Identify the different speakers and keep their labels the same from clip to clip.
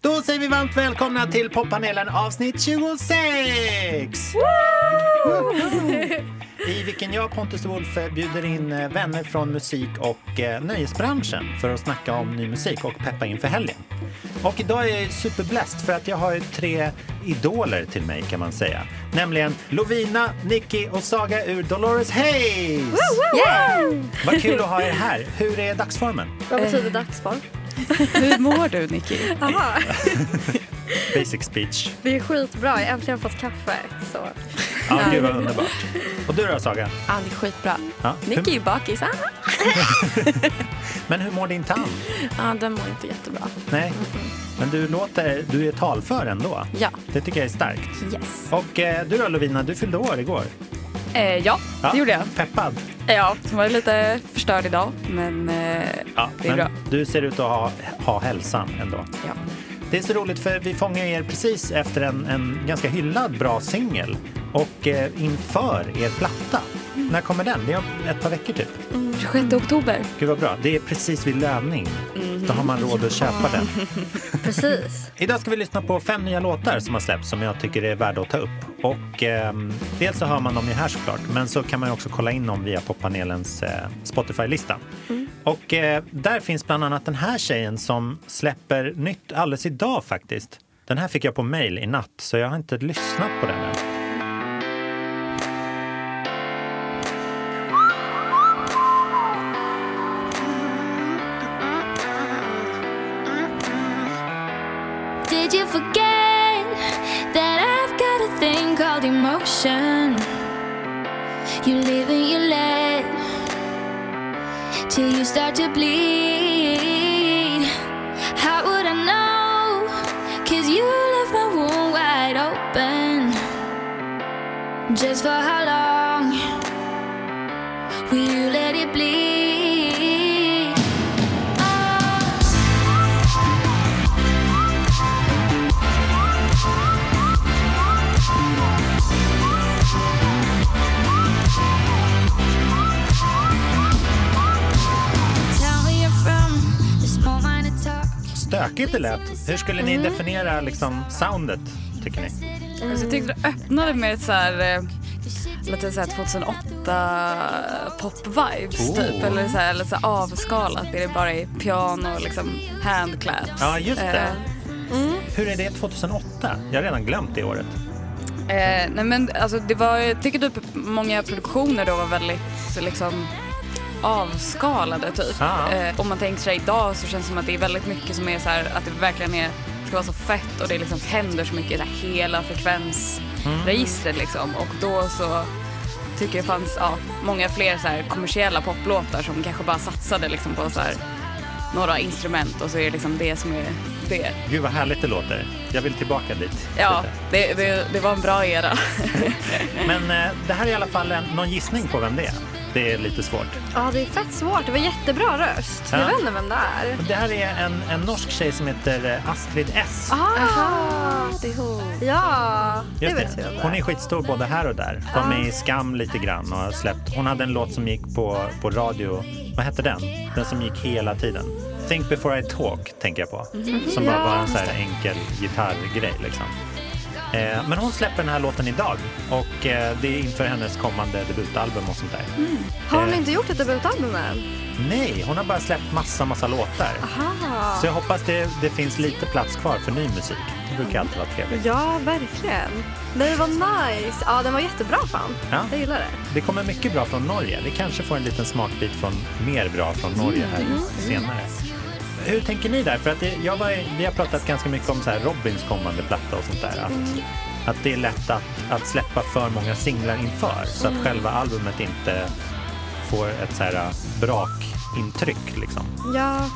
Speaker 1: då säger vi varmt välkomna till poppanelen avsnitt 26! I vilken jag, Pontus och Wolf, bjuder in eh, vänner från musik och eh, nöjesbranschen för att snacka om ny musik och peppa inför helgen. Och idag är jag superbläst för att jag har ju tre idoler till mig kan man säga. Nämligen Lovina, Nicky och Saga ur Dolores Hayes! Vad kul att ha er här. Hur är dagsformen?
Speaker 2: Vad betyder dagsform?
Speaker 3: Hur mår du, Nicky?
Speaker 2: Aha.
Speaker 1: Basic speech.
Speaker 2: Det är skitbra, jag har äntligen fått kaffe. Så.
Speaker 1: Ja, gud vad underbart. Och du då Saga?
Speaker 3: Allt skitbra.
Speaker 1: Ja, hur-
Speaker 3: Nicky är ju bakis. Ah,
Speaker 1: Men hur mår din tand?
Speaker 3: ah, den mår inte jättebra.
Speaker 1: Nej, men du låter, du är talför ändå.
Speaker 3: Ja.
Speaker 1: Det tycker jag är starkt.
Speaker 3: Yes.
Speaker 1: Och eh, du då Lovina, du fyllde år igår.
Speaker 3: Eh, ja,
Speaker 1: Ja,
Speaker 3: det gjorde jag.
Speaker 1: Peppad.
Speaker 3: Ja, som var lite förstörd idag, men eh, det är
Speaker 1: men
Speaker 3: bra.
Speaker 1: Du ser ut att ha, ha hälsan ändå.
Speaker 3: Ja.
Speaker 1: Det är så roligt för vi fångar er precis efter en, en ganska hyllad bra singel och eh, inför er platta.
Speaker 3: Mm.
Speaker 1: När kommer den? Det är om ett par veckor typ.
Speaker 3: 26 oktober.
Speaker 1: Gud vad bra. Det är precis vid löning. Då har man råd att köpa den.
Speaker 2: Precis.
Speaker 1: Idag ska vi lyssna på fem nya låtar som har släppts som jag tycker är värda att ta upp. Och ehm, dels så hör man dem ju här såklart, men så kan man ju också kolla in dem via poppanelens eh, Spotify-lista. Och eh, där finns bland annat den här tjejen som släpper nytt alldeles idag faktiskt. Den här fick jag på mail i natt, så jag har inte lyssnat på den än.
Speaker 4: Did you forget that I've got a thing called emotion? You live and you let till you start to bleed. How would I know? Cause you left my wound wide open. Just for how long will you let it bleed? Oh. Tell where you're from. There's no mind to talk.
Speaker 1: Stökigt det lät. Hur skulle ni definiera liksom, soundet, tycker ni?
Speaker 3: Alltså, jag tyckte det öppnade med ett så här, eh, lite så här 2008 pop-vibes
Speaker 1: Oh.
Speaker 3: typ. Eller så här, lite så här avskalat. Det är bara i piano och liksom handclaps.
Speaker 1: Ja, just det.
Speaker 3: Eh,
Speaker 1: Hur är det 2008? Jag har redan glömt det året.
Speaker 3: Eh, nej men alltså det var, jag tycker typ många produktioner då var väldigt liksom avskalade typ.
Speaker 1: Ja.
Speaker 3: Eh, om man tänker sig idag så känns det som att det är väldigt mycket som är så här att det verkligen är, ska vara så fett och det liksom händer så mycket i det här hela frekvensregistret liksom. Och då så tycker jag det fanns ja, många fler så här kommersiella poplåtar som kanske bara satsade liksom på så här några instrument och så är det liksom det som är det.
Speaker 1: Gud vad härligt det låter. Jag vill tillbaka dit.
Speaker 3: Ja,
Speaker 1: lite.
Speaker 3: det, det, det var en bra era.
Speaker 1: Men eh, det här är i alla fall en, någon gissning på vem det är. Det är lite svårt.
Speaker 2: Ja, det är fett svårt. Det var jättebra röst.
Speaker 1: Ja.
Speaker 2: Jag vet inte vem det är.
Speaker 1: Och det här är en, en norsk tjej som heter eh, Astrid S.
Speaker 2: Aha. Ja, Ah, det Ah.
Speaker 1: Just
Speaker 2: vet jag.
Speaker 1: Hon är skitstor både här och där. De är i Skam lite grann och har släppt. Hon hade en låt som gick på, på radio. Vad hette den? Den som gick hela tiden. Think before I talk tänker jag på.
Speaker 2: Mhm.
Speaker 1: Som bara var en så här enkel gitarrgrej liksom. Eh, men hon släpper den här låten idag och eh, det är inför hennes kommande debutalbum och sånt där.
Speaker 2: Har hon
Speaker 1: Eh.
Speaker 2: inte gjort ett debutalbum än?
Speaker 1: Nej, hon har bara släppt massa, massa låtar.
Speaker 2: Aha.
Speaker 1: Så jag hoppas det, det finns lite plats kvar för ny musik. Det brukar alltid vara trevligt.
Speaker 2: Ja, verkligen. Nej, vad nice. Ja, den var jättebra fan.
Speaker 1: Ja.
Speaker 2: Jag gillar det.
Speaker 1: Det kommer mycket bra från Norge. Vi kanske får en liten smakbit från mer bra från Norge här senare. Hur tänker ni där? För att det, jag var, vi har pratat ganska mycket om så här Robins kommande platta och sånt där. Att, att det är lätt att, att släppa för många singlar inför så att själva albumet inte får ett så här brakintryck liksom.
Speaker 2: Ja,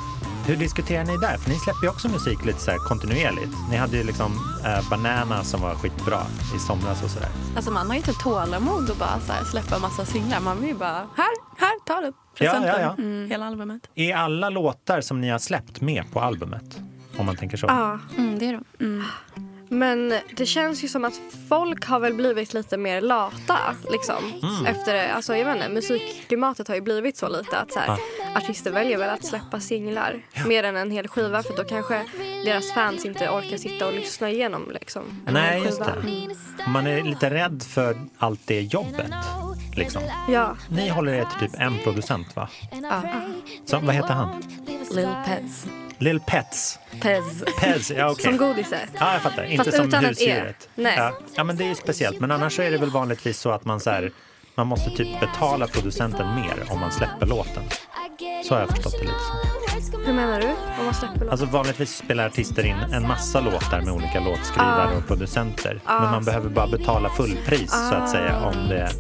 Speaker 1: Hur diskuterar ni där? För ni släpper ju också musik lite så här kontinuerligt. Ni hade ju liksom eh, Banana som var skitbra i somras och sådär.
Speaker 5: Alltså man har ju inte tålamod att bara så här släppa en massa singlar. Man vill ju bara, här, här, ta den. Presenten. Mm,
Speaker 1: ja, ja.
Speaker 5: Hela albumet.
Speaker 1: Är alla låtar som ni har släppt med på albumet? Om man tänker så.
Speaker 2: ja.
Speaker 5: Mm, det är de.
Speaker 2: Men det känns ju som att folk har väl blivit lite mer lata. Liksom.
Speaker 1: Mm.
Speaker 2: Efter, det. alltså, jag vet inte, musikklimatet har ju blivit så lite att så här, artister väljer väl att släppa singlar mer än en hel skiva för då kanske deras fans inte orkar sitta och lyssna igenom liksom, en
Speaker 1: Nej,
Speaker 2: hel
Speaker 1: just
Speaker 2: skiva.
Speaker 1: det. Man är lite rädd för allt det jobbet. Liksom.
Speaker 2: Ja,
Speaker 1: Ni håller er till typ en producent, va?
Speaker 2: ja.
Speaker 1: Ah, Så, vad heter han?
Speaker 3: Lil Pez.
Speaker 1: Lil Pets.
Speaker 3: Pez.
Speaker 1: Pez, ja okej.
Speaker 2: som godiset.
Speaker 1: Ja, jag fattar. Inte
Speaker 2: Fast
Speaker 1: som
Speaker 2: utan ett E.
Speaker 1: husdjuret.
Speaker 2: Nej.
Speaker 1: Ja. ja, men det är ju speciellt. Men annars så är det väl vanligtvis så att man så här, man måste typ betala producenten mer om man släpper låten. Så har jag förstått det lite som.
Speaker 2: Hur menar du? Om man släpper låt?
Speaker 1: Alltså vanligtvis spelar artister in en massa låtar med olika låtskrivare och producenter. Men man behöver bara betala fullpris så att säga om det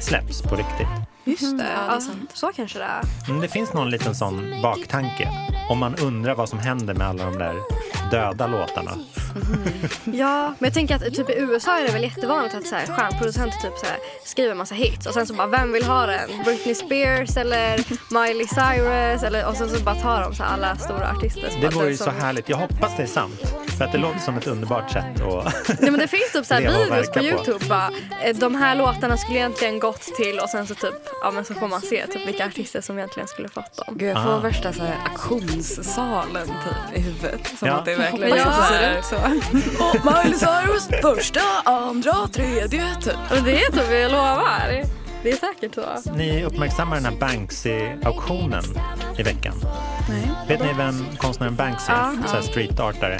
Speaker 1: släpps på riktigt.
Speaker 3: Mm,
Speaker 5: Just det.
Speaker 2: ja, så kanske det är.
Speaker 1: Men det finns någon liten sån baktanke. Om man undrar vad som händer med alla de där döda låtarna.
Speaker 2: Ja, men jag tänker att typ i USA är det väl jättevanligt att så här, stjärnproducenter typ så här, skriver massa hits och sen så bara vem vill ha den? Britney Spears eller Miley Cyrus eller, och sen så bara tar de så här, alla stora artister.
Speaker 1: Det
Speaker 2: bara,
Speaker 1: vore
Speaker 2: den
Speaker 1: ju så
Speaker 2: som-
Speaker 1: härligt. Jag hoppas det är sant. För att det låter som ett underbart sätt att...
Speaker 2: Nej men det finns typ så här
Speaker 1: leva och
Speaker 2: videos på
Speaker 1: verka på.
Speaker 2: Youtube bara eh, de här låtarna skulle egentligen gått till och sen så typ ja men så får man se typ vilka artister som egentligen skulle fått dem.
Speaker 3: Gud, jag får
Speaker 1: Ah.
Speaker 3: värsta så här, auktionssalen typ i huvudet. Som
Speaker 1: Ja.
Speaker 3: att det är verkligen
Speaker 2: Hoppas
Speaker 3: liksom
Speaker 2: jag
Speaker 3: så
Speaker 2: ser
Speaker 3: här,
Speaker 5: ut så.
Speaker 3: "Åh, Miley Cyrus första, andra, tredje typ.
Speaker 2: Och det är typ jag lovar. Det är säkert så.
Speaker 1: Ni uppmärksammar den här Banksy-auktionen i veckan. Vet ni vem konstnären Banksy är? Så här street artare.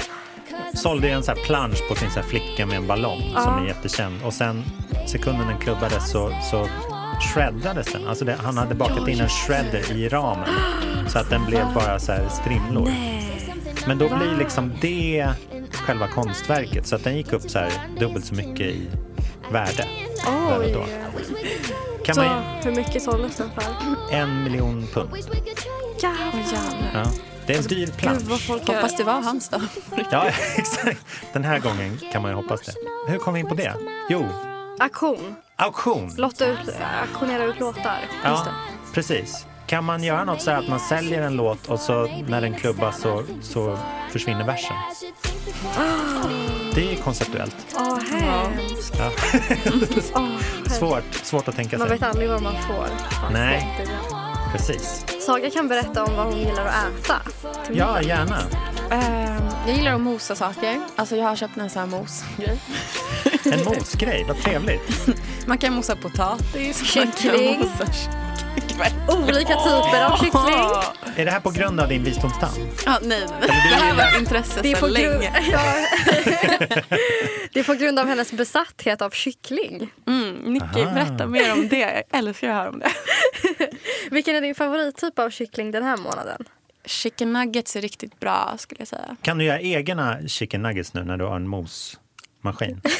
Speaker 1: Sålde ju en så här plansch på sin så här flicka med en ballong som är jättekänd. Och sen sekunden den klubbades så, så shreddades den. Alltså det, han hade bakat in en shredder i ramen. Så att den blev bara så här strimlor. Men då blir liksom det själva konstverket. Så att den gick upp så här dubbelt så mycket i värde. där och då.
Speaker 2: Oj.
Speaker 1: Kan
Speaker 2: Så
Speaker 1: man ju,
Speaker 2: hur mycket såldes den för?
Speaker 1: en miljon pund. Ja. Det är en
Speaker 2: Alltså,
Speaker 1: dyr plansch.
Speaker 5: Hoppas det var hans då.
Speaker 1: Ja, exakt. Den här gången kan man ju hoppas det. Hur kom vi in på det? Jo,
Speaker 2: Auktion.
Speaker 1: auktion.
Speaker 2: Lotta ut, auktionera ut låtar.
Speaker 1: Ja,
Speaker 2: Just det.
Speaker 1: precis. Kan man göra något så här att man säljer en låt och så när den klubbas så, så försvinner versen? Det är konceptuellt.
Speaker 2: Åh, hemskt. Åh, hemskt.
Speaker 1: Svårt, svårt att tänka
Speaker 2: Man
Speaker 1: sig.
Speaker 2: vet aldrig vad man får.
Speaker 1: Nej, precis.
Speaker 2: Saga kan berätta om vad hon gillar att äta. till
Speaker 1: Ja, gärna.
Speaker 5: Ehm, jag gillar att mosa saker. Alltså jag har köpt en sån här mosgrej.
Speaker 1: En mosgrej, vad trevligt.
Speaker 5: Man kan mosa potatis.
Speaker 2: Kyckling.
Speaker 5: Man kan mosa
Speaker 2: middag. Olika typer av kyckling.
Speaker 1: Är det här på grund av din visdomstand?
Speaker 5: Ja, nej, nej. Det här var ett intresse
Speaker 2: Det är, på
Speaker 5: sedan
Speaker 2: grund,
Speaker 5: länge.
Speaker 2: ja. det är på grund av hennes besatthet av kyckling.
Speaker 5: Mm, Nicky,
Speaker 1: Aha.
Speaker 5: berätta mer om det. Jag älskar att höra om det.
Speaker 2: Vilken är din favorittyp av kyckling den här månaden?
Speaker 5: Chicken nuggets är riktigt bra skulle jag säga.
Speaker 1: Kan du göra egna chicken nuggets nu när du har en mosmaskin?
Speaker 2: Alltså,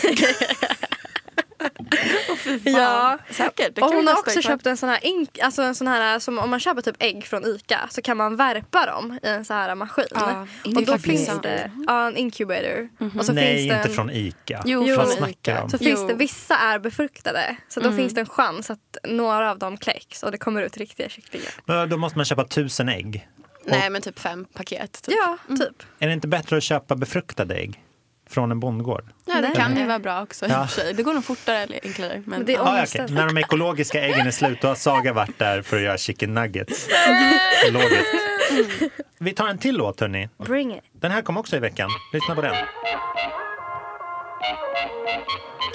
Speaker 2: Ja.
Speaker 5: Säkert. Det
Speaker 2: Och
Speaker 5: kan
Speaker 2: hon
Speaker 5: vi
Speaker 2: har
Speaker 5: testa
Speaker 2: också
Speaker 5: ikväll.
Speaker 2: köpt en sån här, ink, alltså en sån här som om man köper typ ägg från ICA så kan man värpa dem i en sån här maskin.
Speaker 5: Ja,
Speaker 2: och då
Speaker 5: inkubator.
Speaker 2: finns det ja, en incubator. Och så
Speaker 1: Nej,
Speaker 2: finns det
Speaker 1: inte
Speaker 2: en-
Speaker 1: från Ica.
Speaker 5: Jo,
Speaker 1: Vad
Speaker 5: från
Speaker 1: snackar
Speaker 5: Ica.
Speaker 1: du om?
Speaker 2: Så
Speaker 5: Jo.
Speaker 2: finns det, vissa är befruktade så då finns det en chans att några av dem kläcks och det kommer ut riktiga kycklingar. typ.
Speaker 1: Men Då måste man köpa tusen ägg.
Speaker 5: Nej, men typ fem paket. Typ.
Speaker 2: Ja, typ.
Speaker 1: Är det inte bättre att köpa befruktade ägg från en bondgård?
Speaker 5: Ja, det
Speaker 2: Nej.
Speaker 5: kan ju vara bra också i och
Speaker 1: Ja.
Speaker 5: för sig. Det går nog fortare eller enklare. Men,
Speaker 2: Men det är
Speaker 1: Ah, ja,
Speaker 2: ångest.
Speaker 1: okej. När de ekologiska äggen är slut då har Saga varit där för att göra chicken nuggets. Logiskt. Vi tar en till låt hörni.
Speaker 2: Bring it.
Speaker 1: Den här kom också i veckan. Lyssna på den.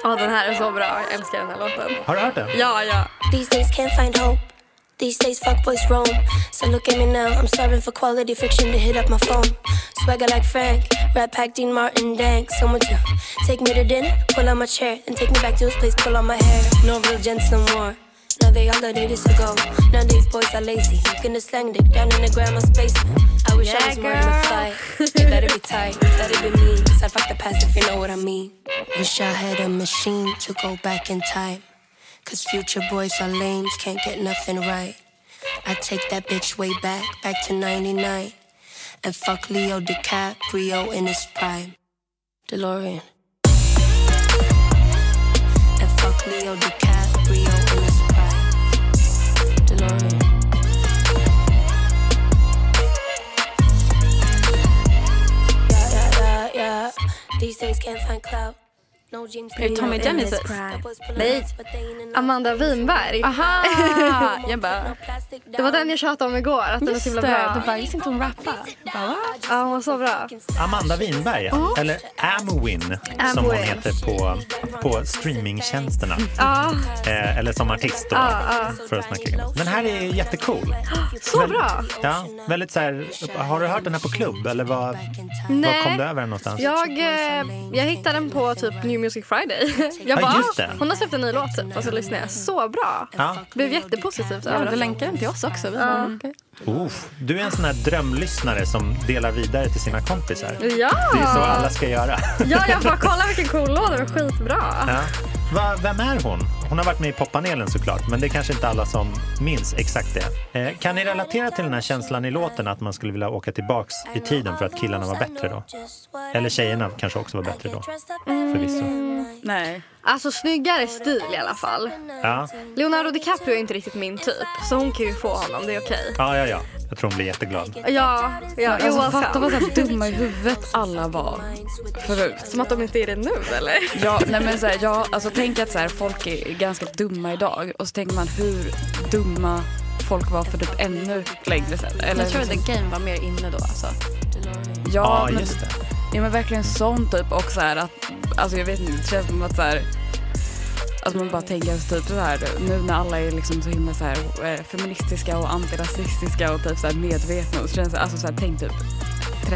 Speaker 2: Ja, den här är så bra. Jag älskar den här låten.
Speaker 1: Har du hört den?
Speaker 2: Ja, ja.
Speaker 6: These days can't find hope. These days fuckboys roam. So look at me now, I'm starving for quality friction to hit up my phone. Swagger like Frank, Rat Pack, Dean Martin, Dank. Someone to take me to dinner, pull out my chair, and take me back to his place, pull out my hair. No real gents no more. Now they all got this to go. Now these boys are lazy, looking to slang dick down in the grandma's basement. I wish I was
Speaker 2: Yeah,
Speaker 6: Martin McFly. You better be tight, better be mean. 'Cause I fuck the past if you know what I mean. Wish I had a machine to go back in time. Cause future boys are lames, can't get nothing right. I take that bitch way back, back to 99. And fuck Leo DiCaprio in his prime. DeLorean. And fuck Leo DiCaprio in his prime. DeLorean. Yeah, yeah, yeah, yeah, up. These days can't find clout. No James
Speaker 5: Är det Tommy
Speaker 6: Dean,
Speaker 5: Genesis?
Speaker 6: Elvis Prime.
Speaker 2: Nej. Amanda Winberg.
Speaker 5: Aha! Jag bara,
Speaker 2: Det var den jag tjatade om igår, att den är så himla
Speaker 5: Du
Speaker 2: bra.
Speaker 5: bara, just inte hon rappar. Jag bara, va?
Speaker 2: Ja, hon var så bra.
Speaker 1: Amanda Winberg, ja. eller Amwin som hon
Speaker 2: Amwin.
Speaker 1: heter på, på streamingtjänsterna.
Speaker 2: Ja,
Speaker 1: Eh, eller som artist då, för att snacka in. Den här är jättecool.
Speaker 2: så bra.
Speaker 1: Ja, väldigt så här, har du hört den här på klubb eller vad, vad kom du
Speaker 2: Nej.
Speaker 1: över den någonstans?
Speaker 2: Jag, eh, jag hittade den på typ New Music Friday. Jag
Speaker 1: Ja,
Speaker 2: bara,
Speaker 1: just det.
Speaker 2: hon har släppt en ny låt typ. Och så lyssnade jag. Så bra.
Speaker 1: Ja.
Speaker 2: Blev jättepositivt
Speaker 5: Ja, du
Speaker 2: överraskad.
Speaker 5: länkar den till oss också. Vi bara, okej.
Speaker 1: Uff, du är en sån här drömlyssnare som delar vidare till sina kompisar.
Speaker 2: Ja.
Speaker 1: Det är så alla ska göra.
Speaker 2: ja, jag bara kolla vilken cool låt, den var skitbra.
Speaker 1: Ja. Va, vem är hon? Hon har varit med i poppanelen såklart, men det är kanske inte alla som minns exakt det. Eh, kan ni relatera till den här känslan i låten att man skulle vilja åka tillbaks i tiden för att killarna var bättre då? Eller tjejerna kanske också var bättre då, förvisso.
Speaker 3: Nej.
Speaker 2: Alltså snyggare stil i alla fall.
Speaker 1: Ja,
Speaker 2: Leonardo DiCaprio är inte riktigt min typ, så hon kan ju få honom, det är okej.
Speaker 1: ja, ja. ja. Jag tror hon blir jätteglad.
Speaker 2: Ja, ja,
Speaker 3: Alltså,
Speaker 2: Johan
Speaker 3: fatta
Speaker 2: Sam.
Speaker 3: vad så här dumma i huvudet alla var förut.
Speaker 2: Som att de inte är det nu eller?
Speaker 3: Ja, nej men så här, ja, alltså, tänk att så här, folk är ganska dumma idag och så tänker man hur dumma folk var för typ ännu längre sedan. Eller,
Speaker 5: Jag tror att
Speaker 3: liksom-
Speaker 5: The Game var mer inne då alltså.
Speaker 1: Ja,
Speaker 3: ja, men,
Speaker 1: just det.
Speaker 3: ja, men verkligen sånt typ och så här att, alltså jag vet inte, det känns som att så här, alltså man bara tänker alltså, typ så här, nu när alla är liksom så himla så här eh, feministiska och antirasistiska och typ så här medvetna och så känns det, alltså så här, tänk typ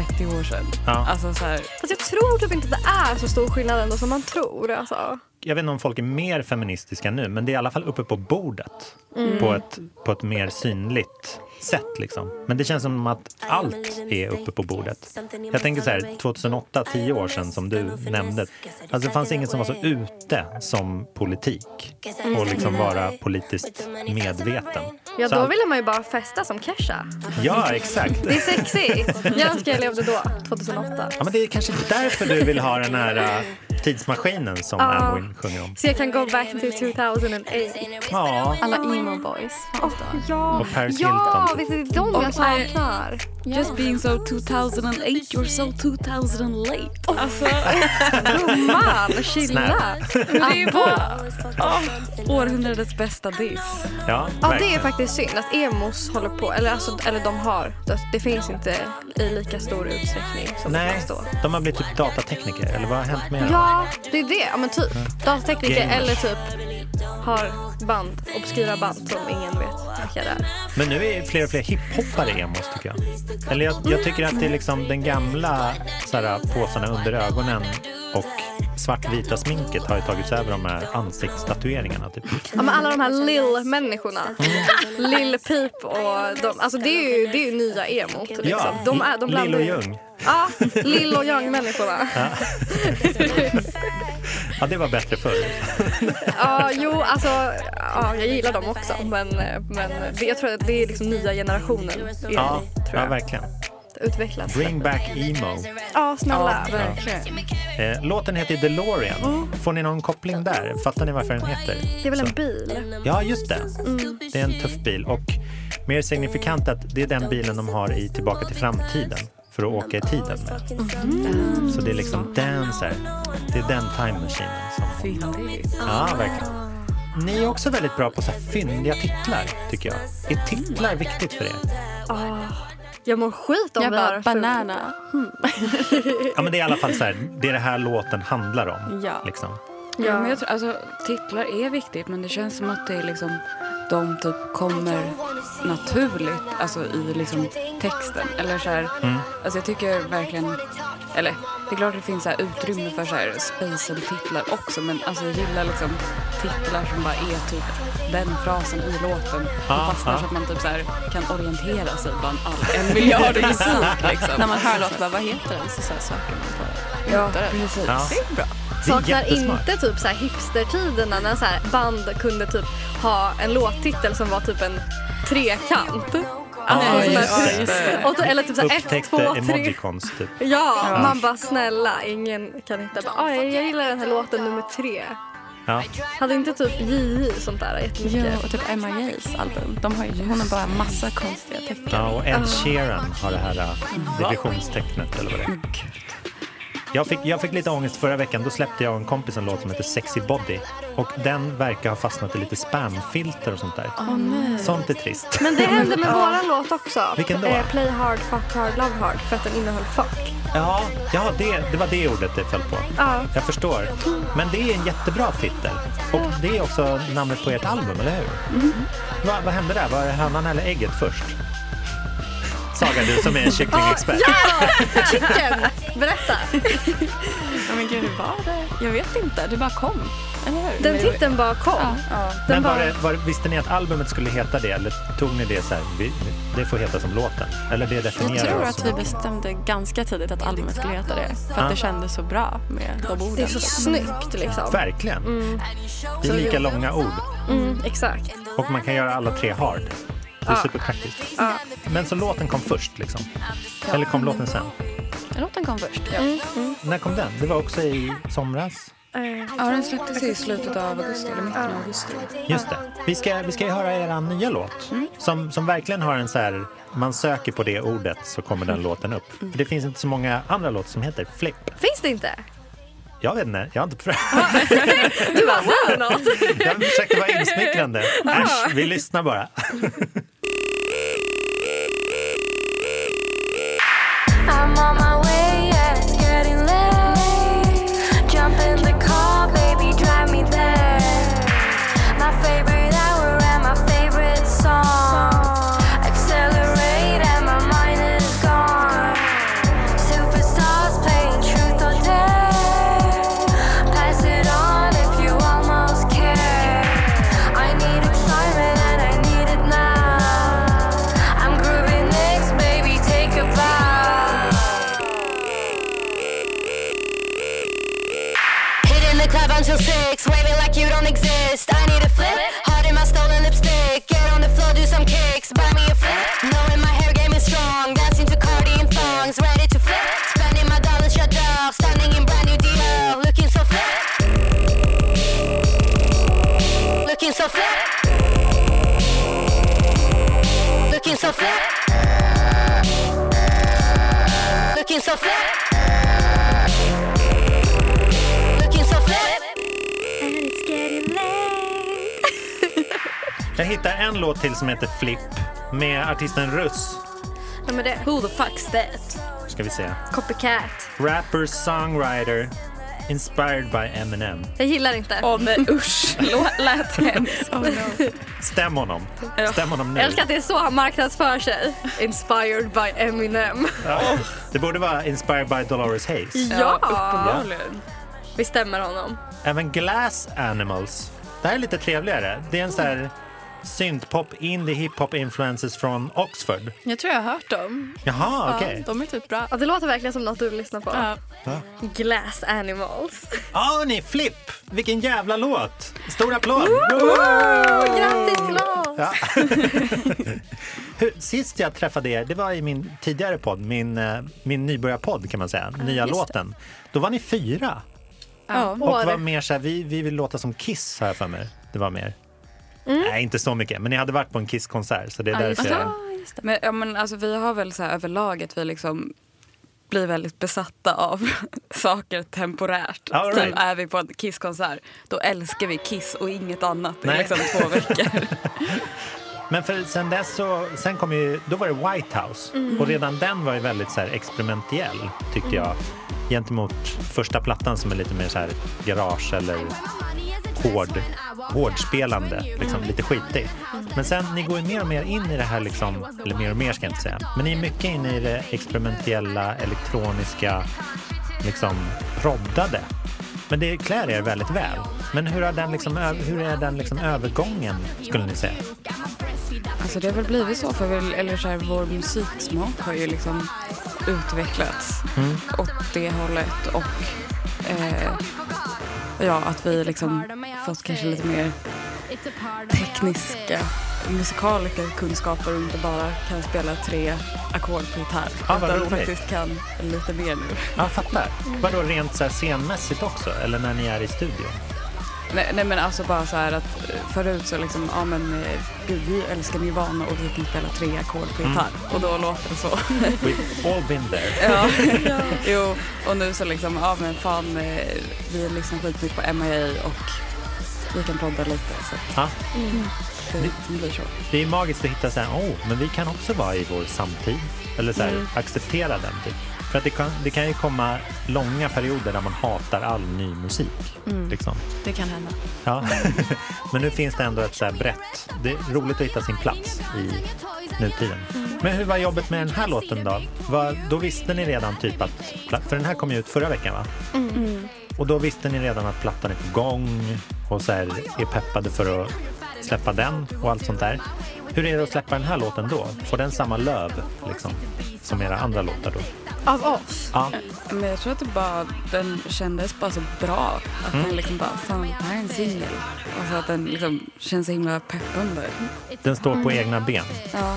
Speaker 3: 30 år sedan.
Speaker 1: Ja.
Speaker 3: Alltså så här,
Speaker 2: Fast jag tror typ inte att det är så stor skillnad ändå som man tror. Alltså.
Speaker 1: jag vet inte om folk är mer feministiska nu, men det är i alla fall uppe på bordet.
Speaker 2: Mm.
Speaker 1: På, ett, på ett mer synligt sätt liksom. Men det känns som att allt är uppe på bordet. Jag tänker så här, 2008, 10 år sedan som du nämnde. Alltså det fanns ingen som var så ute som politik. Och liksom vara politiskt medveten.
Speaker 2: Ja,
Speaker 1: Så
Speaker 2: då
Speaker 1: allt-
Speaker 2: ville man ju bara festa som Kesha.
Speaker 1: Ja, exakt.
Speaker 2: Det är sexigt. Jag önskar jag levde då, 2008.
Speaker 1: Ja, men det är kanske därför du vill ha den här äh, tidsmaskinen som
Speaker 2: Ja.
Speaker 1: Amwin sjunger om.
Speaker 2: Så jag kan go back to 2008.
Speaker 1: Ja,
Speaker 5: Alla emo boys.
Speaker 2: Åh, ja,
Speaker 1: Och Paris
Speaker 2: ja
Speaker 1: Hilton.
Speaker 2: visst är det de jag saknar?
Speaker 3: just being so 2008, you're so 2000 late.
Speaker 2: Gumman, chilla.
Speaker 3: Det är bara århundradets bästa diss.
Speaker 1: ja,
Speaker 2: Ja, det är
Speaker 1: verkligen.
Speaker 2: faktiskt synd att emos håller på. Eller, alltså, eller de har. Det- Det finns inte i lika stor utsträckning som det
Speaker 1: Nej,
Speaker 2: fanns då.
Speaker 1: de har blivit typ datatekniker, eller vad har hänt med dem?
Speaker 2: Ja, det är det. Ja, men typ. Datatekniker
Speaker 1: Gamers.
Speaker 2: eller typ har band, obskyra band som ingen vet vilka det är.
Speaker 1: Men nu är fler och fler hiphoppare emos tycker jag. Eller jag, jag tycker att det är liksom den gamla så här, påsarna under ögonen och svartvita sminket har ju tagits över de här ansiktsstatueringarna. Typ.
Speaker 2: Ja, men alla de här lill-människorna.
Speaker 1: Mm.
Speaker 2: Lill Peep och de. Alltså det är ju, det är ju nya emo. Liksom.
Speaker 1: Ja,
Speaker 2: de är, de
Speaker 1: Lill
Speaker 2: blandar
Speaker 1: och
Speaker 2: ju-
Speaker 1: Ljung.
Speaker 2: Ja, Lill och Young-människorna.
Speaker 1: Ja, det var bättre förr.
Speaker 2: Ja, jo, alltså ja, jag gillar dem också. Men, men det, jag tror att det är liksom nya generationen emo,
Speaker 1: Ja,
Speaker 2: tror
Speaker 1: ja
Speaker 2: jag.
Speaker 1: verkligen.
Speaker 2: Utvecklas.
Speaker 1: Bring back emo.
Speaker 2: Ja, snälla.
Speaker 1: Eh, låten heter DeLorean.
Speaker 2: Mm.
Speaker 1: Får ni någon koppling där? Fattar ni varför den heter?
Speaker 2: Det är väl
Speaker 1: Så.
Speaker 2: en bil?
Speaker 1: Ja, just det. Det är en tuff bil. Och mer signifikant att det är den bilen de har i Tillbaka till framtiden för att åka i tiden med. Så det är liksom den så här, det är den time machinen som... Ja, verkligen. Ni är också väldigt bra på så här fyndiga titlar, tycker jag. Är titlar viktigt för er?
Speaker 2: Jag mår skit om
Speaker 5: Jag
Speaker 2: vi har
Speaker 5: bara,
Speaker 2: ful-
Speaker 5: banana.
Speaker 1: Ja, men det är i alla fall så här, det är det här låten handlar om.
Speaker 5: Ja.
Speaker 1: Liksom.
Speaker 3: Ja, men jag tror, alltså, titlar är viktigt men det känns som att det är liksom, de typ kommer naturligt alltså, i liksom, texten. Eller så här,
Speaker 1: Mm.
Speaker 3: alltså, jag tycker verkligen, eller det är klart att det finns så här, utrymme för så här, spejseltitlar också men alltså, jag gillar liksom, titlar som bara är typ den frasen i låten.
Speaker 1: Ah,
Speaker 3: och fastnar
Speaker 1: ah.
Speaker 3: så att man typ så här, kan orientera sig bland all en miljard musik. Liksom.
Speaker 5: När man hör låt, bara, vad heter den? Så, så här söker man på det.
Speaker 3: ja, precis.
Speaker 1: Ja. Det är
Speaker 2: Saknar
Speaker 1: jättesmart.
Speaker 2: inte typ så här hipstertiderna när så här band kunde typ ha en låttitel som var typ en trekant. Alltså,
Speaker 1: Ja,
Speaker 2: sån där-
Speaker 1: just det.
Speaker 2: Och, eller typ så här ett, två,
Speaker 1: Upptäckte
Speaker 2: tre.
Speaker 1: emojikons, typ.
Speaker 2: Ja, man bara snälla, ingen kan hitta. Bara, "Ah, jag, jag gillar den här låten nummer tre.
Speaker 1: Ja.
Speaker 2: Hade inte typ JJ sånt där
Speaker 5: Jo,
Speaker 2: jättemycket?
Speaker 5: och typ Emma Jays album. De har ju, hon har bara massa konstiga tecken.
Speaker 1: Ja, och Ed Sheeran har det här äh, divisionstecknet eller vad det är. Jag fick, jag fick lite ångest förra veckan. Då släppte jag och en kompis en låt som heter Sexy Body. Och den verkar ha fastnat i lite spamfilter och sånt där. Sånt är trist.
Speaker 2: Men det hände med våran låt också.
Speaker 1: Vilken då?
Speaker 2: Eh, Play hard, fuck hard, love hard. För att den innehöll fuck.
Speaker 1: Ja, ja det, det var det ordet det föll på.
Speaker 2: Ja.
Speaker 1: Jag förstår. Men det är en jättebra titel. Och det är också namnet på ert album, eller hur? Va, vad hände där? Var det hönan eller ägget först? Saga, du som är en kycklingexpert.
Speaker 2: Chicken! Berätta.
Speaker 5: Ja, men gud, hur var det? Jag vet inte. Det bara kom. Eller hur?
Speaker 2: Den titeln bara kom.
Speaker 1: Men
Speaker 2: Den
Speaker 1: var det, var, visste ni att albumet skulle heta det? Eller tog ni det så här, vi, det får heta som låten? Eller det definierar
Speaker 5: Jag tror
Speaker 1: oss
Speaker 5: att
Speaker 1: som-
Speaker 5: vi bestämde ganska tidigt att albumet skulle heta det. För att det kändes så bra med de orden.
Speaker 2: Det är så snyggt liksom.
Speaker 1: Verkligen. Det är lika långa ord.
Speaker 2: Mm, exakt.
Speaker 1: Och man kan göra alla tre hard. Det är superpraktiskt. Men så låten kom först liksom? Eller kom låten sen?
Speaker 5: Låten kom först.
Speaker 1: När kom den? Det var också i somras?
Speaker 3: Ja, den släpptes i slutet av augusti eller mitten av augusti.
Speaker 1: Just det. Vi ska, vi ska ju höra er nya låt. Som, som verkligen har en så här, man söker på det ordet så kommer den låten upp. För det finns inte så många andra låtar som heter flip.
Speaker 2: Finns det inte?
Speaker 1: Jag vet inte, jag har inte prövat.
Speaker 2: Du bara wow! något.
Speaker 1: Jag försökte vara insmickrande. Äsch, vi lyssnar bara.
Speaker 4: I'm on my way, yeah, it's getting late. Jump in the car, baby, drive me there. My favorite hour and my favorite song. Accelerate and my mind is gone. Superstars playing truth or dare. Pass it on if you almost care. I need excitement and I need it now. I'm grooving next, baby, take a bow.
Speaker 6: Hitting the club until six, waving like you don't exist. I need a flip, hard in my stolen lipstick. Get on the floor, do some kicks, buy me a flip. Knowing my hair game is strong, dancing to Cardi and thongs, ready to flip. Spending my dollars, shut dog, standing in brand new deal, looking so flip. Looking so flip. Looking so flip. Looking so flip. Looking so flip.
Speaker 4: And it's getting late.
Speaker 1: Jag hittar en låt till som heter Flip med artisten Russ.
Speaker 2: Nej, men det, who the fuck's that?
Speaker 1: Ska vi se.
Speaker 2: Copycat.
Speaker 1: Rapper, songwriter, inspired by Eminem.
Speaker 2: Jag gillar inte.
Speaker 3: Åh nej usch, Lå- lät hemskt.
Speaker 1: Stäm honom. Stäm honom nu.
Speaker 2: Jag älskar att det är så han marknadsför sig. Inspired by Eminem.
Speaker 1: Ja. Det borde vara inspired by Dolores Hayes.
Speaker 2: Ja,
Speaker 3: uppenbarligen.
Speaker 2: Vi stämmer honom.
Speaker 1: Även Glass Animals. Det här är lite trevligare. Det är en så här syntpop, indie, hiphop influences från Oxford.
Speaker 5: Jag tror jag har hört dem.
Speaker 1: Jaha, okej.
Speaker 5: Ja, de är typ bra.
Speaker 2: Ja, det låter verkligen som något du lyssnar på.
Speaker 5: Ja.
Speaker 2: Glass Animals.
Speaker 1: Ja, ni, Flip! Vilken jävla låt! Stor applåd!
Speaker 2: Oh, grattis till oss!
Speaker 1: Ja. Hur- Sist jag träffade er, det var i min tidigare podd, min, eh, min nybörjarpodd kan man säga, nya låten. Då var ni fyra
Speaker 5: Ja.
Speaker 1: och var mer så här, vi, vi vill låta som Kiss har jag för mig. Det var mer. Nej, inte så mycket, men ni hade varit på en Kiss-konsert så det är därför jag...
Speaker 3: Men, ja, men alltså, vi har väl så här överlag att vi liksom blir väldigt besatta av saker temporärt.
Speaker 1: All
Speaker 3: Typ
Speaker 1: right.
Speaker 3: är vi på en Kiss-konsert, då älskar vi Kiss och inget annat
Speaker 1: Nej.
Speaker 3: i liksom två veckor.
Speaker 1: Men för sen dess så, sen kom ju, då var det White House och redan den var ju väldigt så här experimentell tyckte jag. Gentemot första plattan som är lite mer så här garage eller hård, hårdspelande, liksom, lite skitig. Men sen, ni går ju mer och mer in i det här, liksom, eller mer och mer ska jag inte säga, men ni är mycket inne i det experimentella, elektroniska, liksom proddade. Men det klär er väldigt väl. Men hur, har den liksom, ö- hur är den liksom övergången, skulle ni säga?
Speaker 3: Alltså det har väl blivit så för väl, eller så här, vår musiksmak har ju liksom utvecklats
Speaker 1: Mm.
Speaker 3: åt det hållet och eh, ja, att vi liksom fått kanske lite mer tekniska musikaliska kunskaper och inte bara kan spela tre ackord på gitarr.
Speaker 1: Ah, vad
Speaker 3: utan
Speaker 1: roligt.
Speaker 3: faktiskt kan lite mer nu.
Speaker 1: Ja, jag fattar. Vadå rent så här scenmässigt också, eller när ni är i studion?
Speaker 3: Nej, nej men alltså bara så här att eh, förut så liksom, ja men eh, gud vi älskar Nirvana och vi kan spela tre ackord på gitarr.
Speaker 1: Mm.
Speaker 3: Och då låter det så.
Speaker 1: We've all been there.
Speaker 3: ja. Jo, och nu så liksom, ja men fan eh, vi lyssnar skitmycket på MIA och vi kan podda lite så att
Speaker 1: Ja,
Speaker 3: det, det blir så.
Speaker 1: det är magiskt att hitta så här, oh, men vi kan också vara i vår samtid. Eller så här, acceptera den. Typ. För att det kan, det kan ju komma långa perioder där man hatar all ny musik. Liksom.
Speaker 5: Det kan hända.
Speaker 1: Ja. Men nu finns det ändå ett så här brett... Det är roligt att hitta sin plats i nutiden. Men hur var jobbet med den här låten då? Vad- då visste ni redan typ att... För den här kom ju ut förra veckan va? Och då visste ni redan att plattan är på gång och så här är peppade för att släppa den och allt sånt där. Hur är det att släppa den här låten då? Får den samma löv liksom, som era andra låtar då?
Speaker 2: Av oss?
Speaker 1: Ja,
Speaker 3: Men jag tror att det bara, den kändes bara så bra. Att den liksom bara, fan det här är en singel. Alltså att den liksom känns så himla peppande.
Speaker 1: den står på egna ben.
Speaker 3: Ja.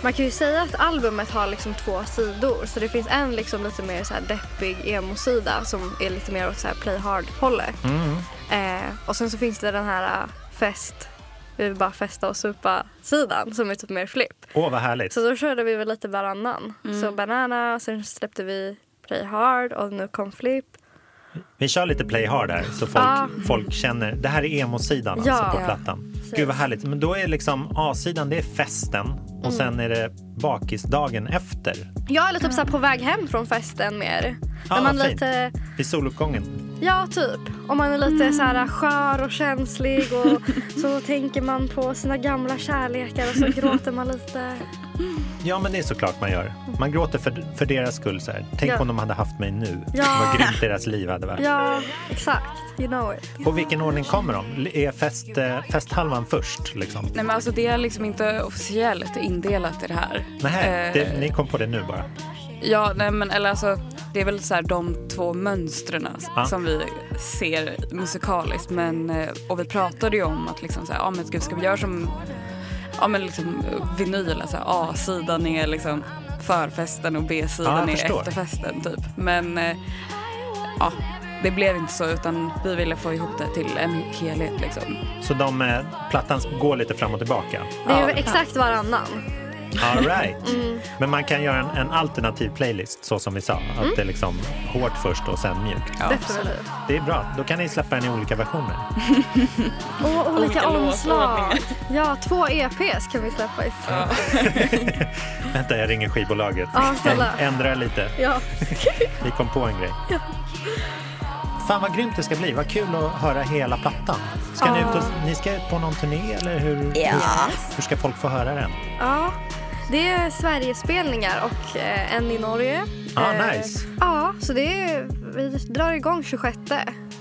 Speaker 2: Man kan ju säga att albumet har liksom två sidor. Så det finns en liksom lite mer så här deppig emo-sida som är lite mer åt så här play hard-hållet. Eh, och sen så finns det den här eh, fest, vi vill bara festa och supa-sidan som är typ mer flipp.
Speaker 1: Åh, vad härligt.
Speaker 2: Så då körde vi väl lite varannan. Så banana, sen släppte vi play hard och nu kom flipp.
Speaker 1: Vi kör lite play hard här så folk,
Speaker 2: Ja.
Speaker 1: folk känner. Det här är emo-sidan alltså
Speaker 2: Ja.
Speaker 1: på
Speaker 2: Ja.
Speaker 1: plattan. Gud vad härligt. Men då är liksom A-sidan det är festen och
Speaker 2: Mm.
Speaker 1: sen är det bakisdagen efter.
Speaker 2: Jag är lite typ så här på väg hem från festen mer.
Speaker 1: Ja,
Speaker 2: När man
Speaker 1: vad fint.
Speaker 2: lite...
Speaker 1: Vid soluppgången.
Speaker 2: Ja, typ. Om man är lite så här skör och känslig och så tänker man på sina gamla kärlekar och så gråter man lite.
Speaker 1: Ja men det är såklart man gör. Man gråter för, för deras skull så här. Tänk
Speaker 2: Ja.
Speaker 1: om de hade haft mig nu.
Speaker 2: Ja.
Speaker 1: Vad grymt deras liv hade varit.
Speaker 2: Ja, exakt. You know it.
Speaker 1: Och vilken ordning kommer de? L- Är fest, eh, festhalvan först liksom?
Speaker 3: Nej men alltså det är liksom inte officiellt indelat i det här.
Speaker 1: Nej,
Speaker 3: Eh,
Speaker 1: det, ni kom på det nu bara.
Speaker 3: Ja, nej men eller alltså det är väl så här de två mönstren
Speaker 1: Ja.
Speaker 3: som vi ser musikaliskt. Men, eh, och vi pratade ju om att liksom så här, ja men gud, ska vi göra som ja, men liksom, eh, vinyl, alltså A-sidan är liksom förfesten och
Speaker 1: Ja,
Speaker 3: B-sidan
Speaker 1: jag
Speaker 3: är
Speaker 1: förstår.
Speaker 3: efterfesten typ. Men eh, ja, det blev inte så utan vi ville få ihop det till en helhet liksom.
Speaker 1: Så de, eh, plattan går lite fram och tillbaka.
Speaker 2: Det är ju exakt varannan.
Speaker 1: All right.
Speaker 2: Mm.
Speaker 1: Men man kan göra en, en alternativ playlist så som vi sa.
Speaker 2: Mm.
Speaker 1: Att det är liksom hårt först och sen mjukt.
Speaker 2: Definitivt.
Speaker 1: Det är bra. Då kan ni släppa den i olika versioner.
Speaker 2: Mm. Och olika,
Speaker 3: Olika
Speaker 2: omslag.
Speaker 3: låtordningar.
Speaker 2: Ja, två EPs kan vi släppa i. Ja.
Speaker 1: Vänta, jag ringer skivbolaget.
Speaker 2: Ja, snälla.
Speaker 1: Änd- Ändra lite. Vi kom på en grej. Fan vad grymt det ska bli. Vad kul att höra hela plattan. Ska ni, ut och, ni ska ut på någon turné eller hur, hur, hur ska folk få höra den?
Speaker 2: ja. Det är Sverigespelningar och eh, en i Norge.
Speaker 1: Ah,
Speaker 2: Eh,
Speaker 1: nice.
Speaker 2: Ja, så det är, vi drar igång 26.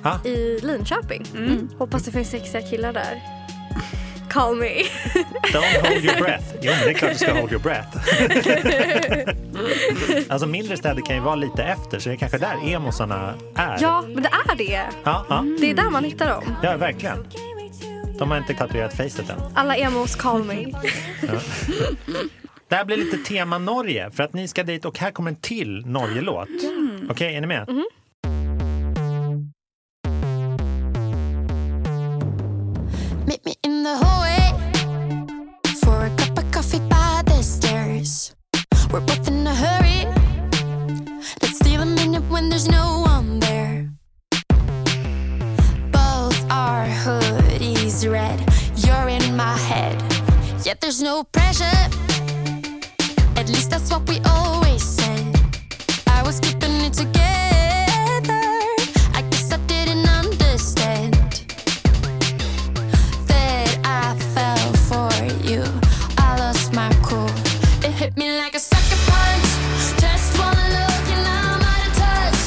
Speaker 1: Ja,
Speaker 2: i Linköping. Hoppas det finns sexiga killar där. Call me.
Speaker 1: don't hold your breath. Jo, men det är klart du ska hold your breath. alltså mindre städer kan ju vara lite efter så det är kanske där emosarna är. Mm.
Speaker 2: Ja, men det är det.
Speaker 1: Ja, ja.
Speaker 2: Det är där man hittar dem.
Speaker 1: ja verkligen. De har inte tatuerat facet än.
Speaker 2: Alla emos call me.
Speaker 1: Det här blir lite tema Norge, för att ni ska dit och här kommer en till Norge-låt. Okej, är ni med?
Speaker 7: Meet me in the hallway for a cup of coffee by the stairs. We're both in a hurry. Let's steal a minute when there's no one there. Both our hoodies red. You're in my head. Yet there's no pressure. At least that's what we always said. I was keeping it together. I guess I didn't understand that I fell for you. I lost my cool. It hit me like a sucker punch. Just one look and I'm out of touch.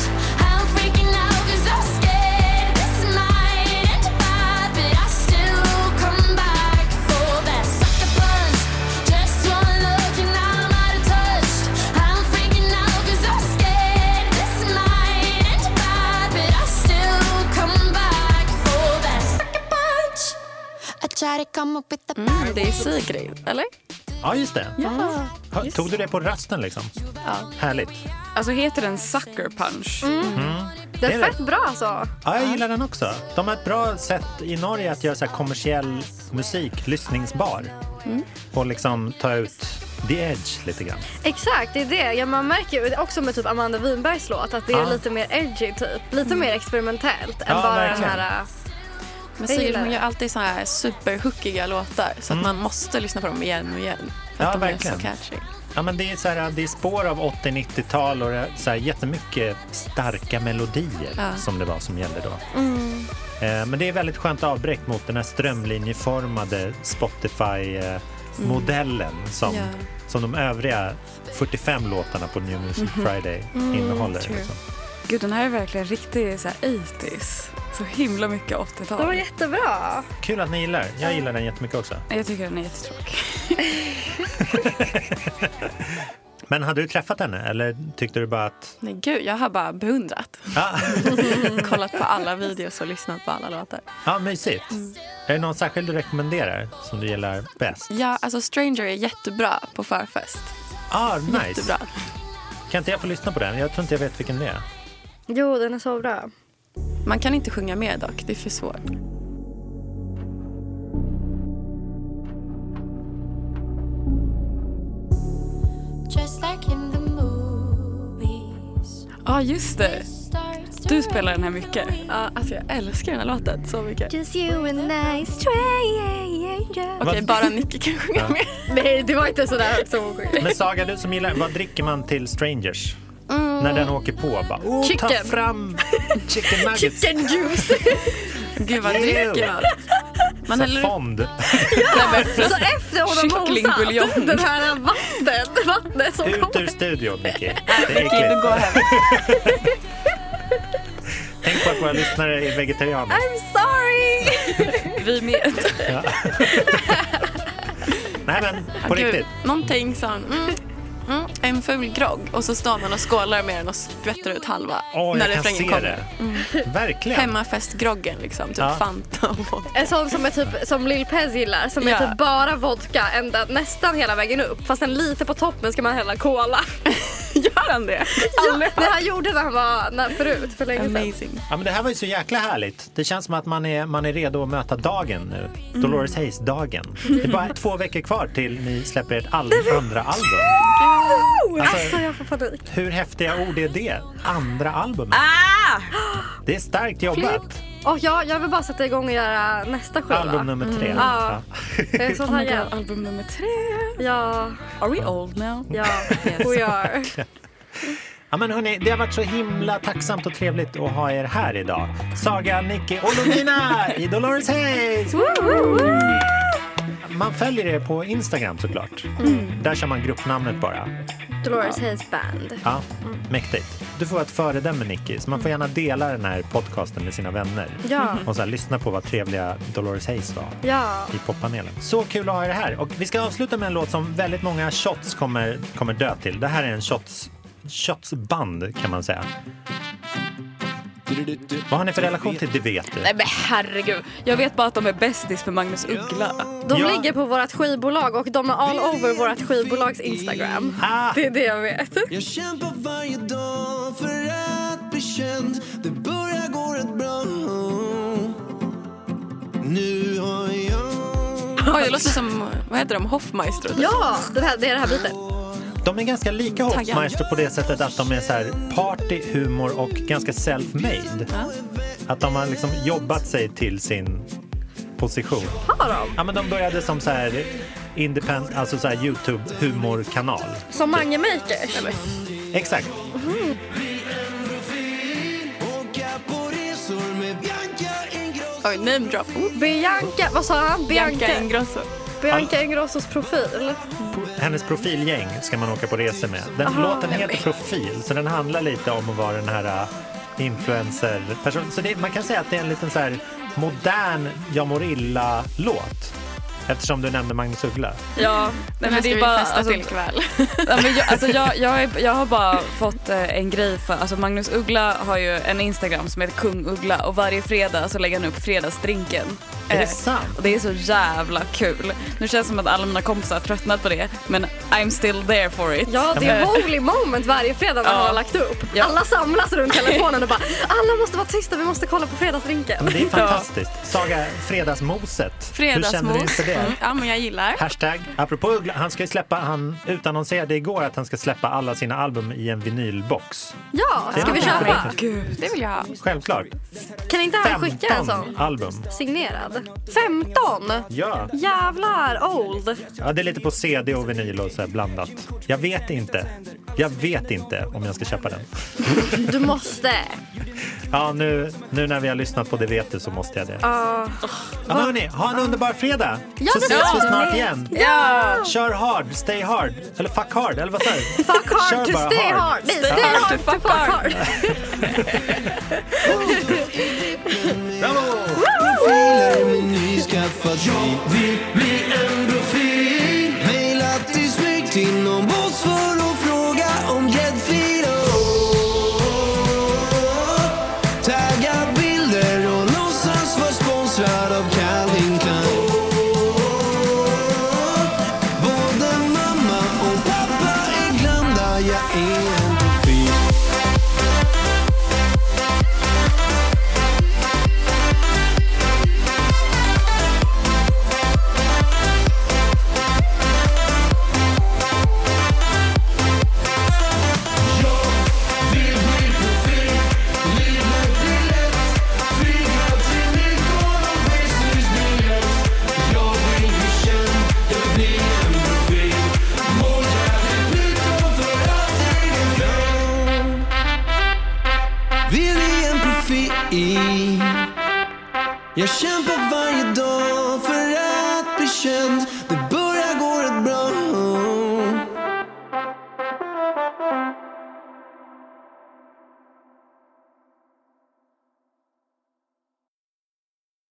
Speaker 7: I'm freaking out 'cause I'm scared this might end bad, but I still come back for that sucker punch. Just one look and I'm out of touch. I'm freaking out 'cause I'm scared this might end bad, but I still come back for that sucker punch. I try to come up with the
Speaker 2: Mm.
Speaker 5: Det är Sigrid, eller?
Speaker 1: Ja, just det.
Speaker 5: Ja.
Speaker 1: Ha-
Speaker 5: Just.
Speaker 1: Tog du det på rasten liksom?
Speaker 5: Ja.
Speaker 1: Härligt.
Speaker 3: Alltså heter den Sucker Punch?
Speaker 2: Mm. Den
Speaker 1: är
Speaker 2: är
Speaker 1: det.
Speaker 2: fett bra alltså.
Speaker 1: Ja, jag gillar den också. De har ett bra sätt i Norge att göra så här kommersiell musik lyssningsbar. Och liksom ta ut the edge lite grann.
Speaker 2: Exakt, det är det. Ja, man märker ju också med typ Amanda Winbergs låt att det är
Speaker 1: Ja. Mm.
Speaker 2: lite mer edgy typ. Lite mer experimentellt än
Speaker 1: Ja,
Speaker 2: bara
Speaker 1: verkligen.
Speaker 2: den här... äh,
Speaker 5: Men
Speaker 2: Jag
Speaker 5: Sigrid
Speaker 2: gillar
Speaker 5: hon
Speaker 2: det.
Speaker 5: gör alltid såna här superhookiga låtar så att man måste lyssna på dem igen och igen. För
Speaker 1: Mm. Ja,
Speaker 5: att de
Speaker 1: verkligen.
Speaker 5: är så catchy.
Speaker 1: Ja, men det, är så här, det är spår av 80-90-tal och det är så här jättemycket starka melodier
Speaker 5: Ja. Mm.
Speaker 1: som det var som gällde då. Eh, men det är väldigt skönt avbräck mot den här strömlinjeformade Spotify-modellen som,
Speaker 5: Mm. Ja.
Speaker 1: som de övriga 45 låtarna på New Music
Speaker 5: Mm-hmm.
Speaker 1: Friday
Speaker 5: Mm,
Speaker 1: innehåller.
Speaker 3: true.
Speaker 1: Liksom.
Speaker 3: Gud, den här är verkligen riktig så här 80s. Så himla mycket
Speaker 2: De var
Speaker 3: 80-tal.
Speaker 2: jättebra.
Speaker 1: Kul att ni gillar. Jag gillar den jättemycket också.
Speaker 3: Jag tycker den är jättetråkig.
Speaker 1: Men hade du träffat henne eller tyckte du bara att...
Speaker 5: Nej gud, jag har bara beundrat.
Speaker 1: Ja,
Speaker 5: Kollat på alla videos och lyssnat på alla låtar.
Speaker 1: ja mysigt.
Speaker 5: Mm.
Speaker 1: Är det någon särskild du rekommenderar som du gillar bäst?
Speaker 5: Ja, alltså Stranger är jättebra på förfest.
Speaker 1: Ah, nice.
Speaker 5: Jättebra.
Speaker 1: Kan inte jag få lyssna på den? Jag tror inte jag vet vilken det är.
Speaker 2: Jo, den är så bra.
Speaker 5: Man kan inte sjunga med dock, det är för svårt.
Speaker 7: Just like in the movies.
Speaker 3: Ja, just det. Du spelar den här mycket.
Speaker 5: Ja, alltså jag älskar den här låten så mycket.
Speaker 4: Just you and I, stranger.
Speaker 5: Okej,
Speaker 1: Vad-
Speaker 5: bara Nicky kan sjunga med.
Speaker 2: Nej, det var inte sådär högt som hon sjöng.
Speaker 1: Men Saga, du som gillar, vad dricker man till strangers?
Speaker 5: Mm.
Speaker 1: När den åker på bara, oh, ta
Speaker 2: Chicken.
Speaker 1: fram chicken nuggets.
Speaker 2: Chicken juice.
Speaker 5: Gud vad
Speaker 1: Ew.
Speaker 5: dricker man? Man
Speaker 1: Så
Speaker 5: häller ut
Speaker 1: fond.
Speaker 2: Så efter hon har mosat
Speaker 3: Kycklingbuljong.
Speaker 2: den här vatten, vattnet som
Speaker 1: Ut ur
Speaker 2: kommer.
Speaker 1: studion, Nicky. Det är
Speaker 3: Okej, du
Speaker 1: äckligt.
Speaker 3: går hem.
Speaker 1: Tänk på att våra lyssnare är vegetarianer.
Speaker 2: I'm sorry!
Speaker 3: Vi med.
Speaker 1: Nej, men på
Speaker 5: Gud,
Speaker 1: riktigt.
Speaker 5: Någonting som... Mm, mm, en ful grogg och så står man och skålar med den och skvätter ut halva
Speaker 1: Åh, jag kan
Speaker 5: refrängen Mm.
Speaker 1: se det. Verkligen.
Speaker 5: Hemmafestgroggen liksom, typ
Speaker 1: Ja.
Speaker 5: Fanta och vodka.
Speaker 2: En sån som är typ som Lil Pez gillar som
Speaker 5: Ja.
Speaker 2: är typ bara vodka ända, nästan hela vägen upp. Fast en lite på toppen ska man hälla cola.
Speaker 5: Gör han det?
Speaker 2: Ja, det han gjorde när han var när, förut för länge sedan.
Speaker 5: Amazing.
Speaker 1: Ja, men det här var ju så jäkla härligt. Det känns som att man är, man är redo att möta dagen nu.
Speaker 5: Mm.
Speaker 1: Dolores Hayes-dagen. Det är bara två veckor kvar till ni släpper ert all- andra album.
Speaker 2: Alltså jag får panik.
Speaker 1: Hur häftiga ord är det? Andra albumet. Det är starkt jobbat.
Speaker 2: Och jag, jag vill bara sätta igång och göra nästa skiva.
Speaker 1: Album nummer tre.
Speaker 2: Ja. Jag är så
Speaker 3: Oh my God,
Speaker 2: taggad.
Speaker 3: album nummer tre.
Speaker 2: Ja,
Speaker 3: Are we old now?
Speaker 2: ja, we are.
Speaker 1: Ja, men hörni, det har varit så himla tacksamt och trevligt att ha er här idag. Saga, Nicky och Lovina i Dolores Hayes! Man följer er på Instagram såklart. Där kör man gruppnamnet bara.
Speaker 2: Dolores Hayes Band.
Speaker 1: Ja, mäktigt. Du får vara ett föredöme Nicky, så man får gärna dela den här podcasten med sina vänner.
Speaker 2: Ja.
Speaker 1: Och så här, lyssna på vad trevliga Dolores Hayes var
Speaker 2: Ja.
Speaker 1: i poppanelen. Så kul att ha er här. Och vi ska avsluta med en låt som väldigt många shots kommer, kommer dö till. Det här är en shots, shotsband kan man säga. Vad har ni för relation till Det vet du?
Speaker 3: Nej men herregud. Jag vet bara att de är bästis med Magnus Uggla.
Speaker 2: De
Speaker 1: Ja.
Speaker 2: ligger på vårt skivbolag och de är all over vårt skivbolags Instagram.
Speaker 1: Ah,
Speaker 2: Det är det jag vet.
Speaker 8: Jag kämpar varje dag för att bli känd Det börjar gå rätt bra Nu har jag
Speaker 5: Oj, det låter som, vad heter de, Hoffmeister?
Speaker 2: Ja, det, här, det är det här bitet.
Speaker 1: de är ganska lika Hoffmeister på det sättet att de är så här party, humor och ganska self-made. Att de har liksom jobbat sig till sin position.
Speaker 2: Har de?
Speaker 1: Ja, men de började som så här independent, alltså så här Youtube-humorkanal.
Speaker 2: Som Mange Makers?
Speaker 1: Exakt.
Speaker 8: åka på resor med Bianca Ingrosso
Speaker 5: Oj, name drop.
Speaker 2: Bianca, vad sa han?
Speaker 5: Bianca
Speaker 2: Bianca,
Speaker 5: Ingrosso.
Speaker 2: Bianca Ingrossos profil.
Speaker 1: Hennes profilgäng ska man åka på resor med. Den låten heter Profil, så den handlar lite om att vara den här äh, influencer-personen. Så det, man kan säga att det är en liten så här modern Jag mår illa-låt. Eftersom du nämnde Magnus Uggla.
Speaker 3: Ja, nej, men det är bara... Alltså,
Speaker 5: kväll.
Speaker 3: ja, men jag, alltså, jag, jag, är, jag har bara fått eh, en grej för... Alltså Magnus Uggla har ju en Instagram som heter Kung Uggla och varje fredag så lägger han upp fredagsdrinken.
Speaker 1: Är det
Speaker 3: Eh,
Speaker 1: sant?
Speaker 3: Och det är så jävla kul. Nu känns det som att alla mina kompisar har tröttnat på det, men I'm still there for it.
Speaker 2: Ja, det är holy moment varje fredag man
Speaker 3: Ja.
Speaker 2: har lagt upp.
Speaker 3: Ja.
Speaker 2: Alla samlas runt telefonen och bara alla måste vara tysta, vi måste kolla på fredagsdrinken.
Speaker 1: Men det är fantastiskt. Saga, fredagsmoset. Hur känner du
Speaker 5: Fredagsmos.
Speaker 1: inför det?
Speaker 5: Mm, Ja, men jag gillar.
Speaker 1: Hashtag, apropå Uggla, han ska ju släppa, han utannonserade igår att han ska släppa alla sina album i en vinylbox.
Speaker 2: Ja, ska vi köpa?
Speaker 5: Gud, det vill jag ha.
Speaker 1: Självklart.
Speaker 2: Kan inte han skicka en
Speaker 1: 15
Speaker 2: sån?
Speaker 1: album.
Speaker 2: Signerad. 15!
Speaker 1: Ja.
Speaker 2: Jävlar old!
Speaker 1: ja, det är lite på CD och vinyl och så här blandat. Jag vet inte. Jag vet inte om jag ska köpa den.
Speaker 2: Du måste.
Speaker 1: Ja, nu, nu när vi har lyssnat på Det vet du så måste jag det.
Speaker 2: Ah.
Speaker 1: ja, men hörni, ha en underbar fredag! så ses vi snart igen. Kör hard, stay hard. Eller fuck hard, eller vad säger du?
Speaker 2: Fuck hard
Speaker 1: Kör
Speaker 2: to
Speaker 1: bara
Speaker 2: stay
Speaker 1: hard.
Speaker 2: hard. Nej, stay hard to fuck hard.
Speaker 1: Bravo!
Speaker 8: profiler med nyskaffat Jag vill bli en profil Maila till snyggt inom oss för att fråga om Oh, gräddfiler oh, Tagga bilder och låtsas vara sponsrad av Calvin Klein Oh, Både mamma och pappa är glömda, jag är en profil Vill bli en profil Jag kämpar varje dag för att bli känd Det